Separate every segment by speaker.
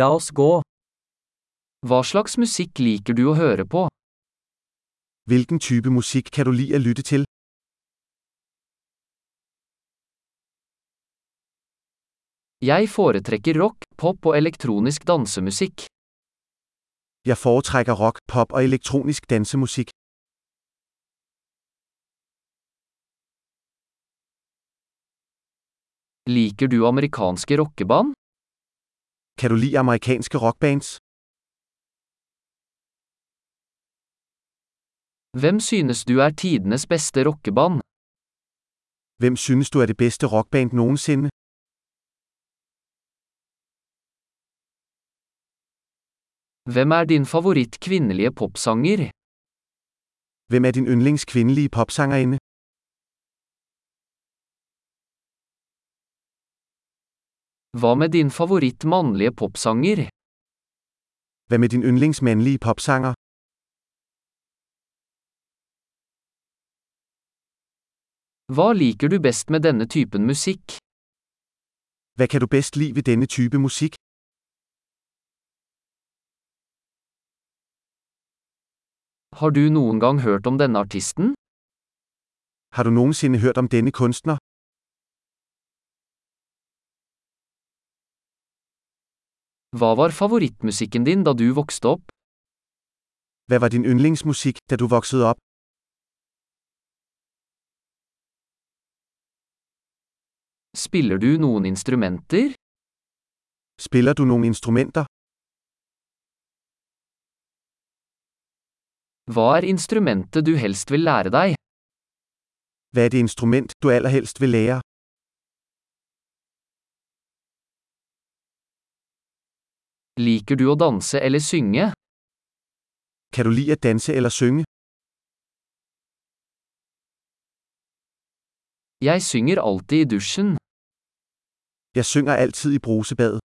Speaker 1: La oss gå. Hva slags musikk liker du å høre på?
Speaker 2: Hvilken type musik kan du lide at lytte til?
Speaker 1: Jeg foretrekker rock, pop og elektronisk dansemusikk.
Speaker 2: Jeg foretrækker rock, pop og elektronisk dansemusik.
Speaker 1: Liker du amerikanske rockeband?
Speaker 2: Kan du lide amerikanske rockbands?
Speaker 1: Hvem synes du er tidenes beste rockeband?
Speaker 2: Hvem synes du er det bedste rockband nogensinde?
Speaker 1: Hvem er din favoritt kvinnelige popsanger?
Speaker 2: Hvem er din yndlings kvindelige popsangerinde?
Speaker 1: Hva med din favoritt mannlige popsanger?
Speaker 2: Hvad med din yndlings mandlige popsanger?
Speaker 1: Hva liker du best med denne typen musikk?
Speaker 2: Hvad kan du bedst lide ved denne type musik?
Speaker 1: Har du noen gang hørt om denne artisten?
Speaker 2: Har du nogensinde hørt om denne kunstner?
Speaker 1: Hva var favorittmusikken din da du vokste opp?
Speaker 2: Hvad var din yndlingsmusik, da du voksede op?
Speaker 1: Spiller du noen instrumenter?
Speaker 2: Spiller du nogle instrumenter?
Speaker 1: Hva er instrumentet du helst vil lære deg?
Speaker 2: Hvad er det instrument, du allerhelst vil lære?
Speaker 1: Liker du å danse eller synge?
Speaker 2: Kan du lide at danse eller synge?
Speaker 1: Jeg synger alltid i dusjen.
Speaker 2: Jeg synger altid i brusebadet.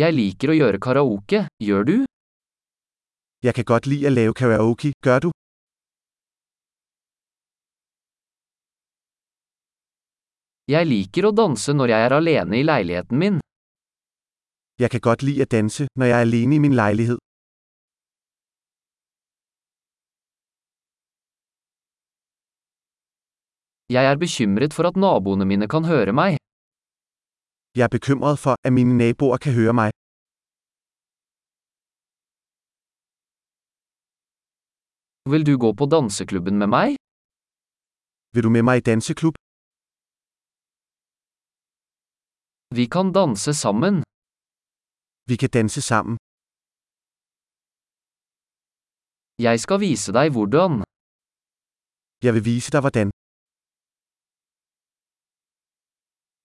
Speaker 1: Jeg liker å gjøre karaoke, gjør du?
Speaker 2: Jeg kan godt lide at lave karaoke, gør du?
Speaker 1: Jeg liker å danse når jeg er alene i leiligheten min.
Speaker 2: Jeg kan godt lide at danse, når jeg er alene i min lejlighed.
Speaker 1: Jeg er bekymret for at naboene mine kan høre meg.
Speaker 2: Jeg er bekymret for, at mine naboer kan høre mig.
Speaker 1: Vil du gå på danseklubben med meg?
Speaker 2: Vil du med mig i danseklub?
Speaker 1: Vi kan danse sammen.
Speaker 2: Vi kan danse sammen.
Speaker 1: Jeg skal vise deg hvordan.
Speaker 2: Jeg vil vise dig hvordan.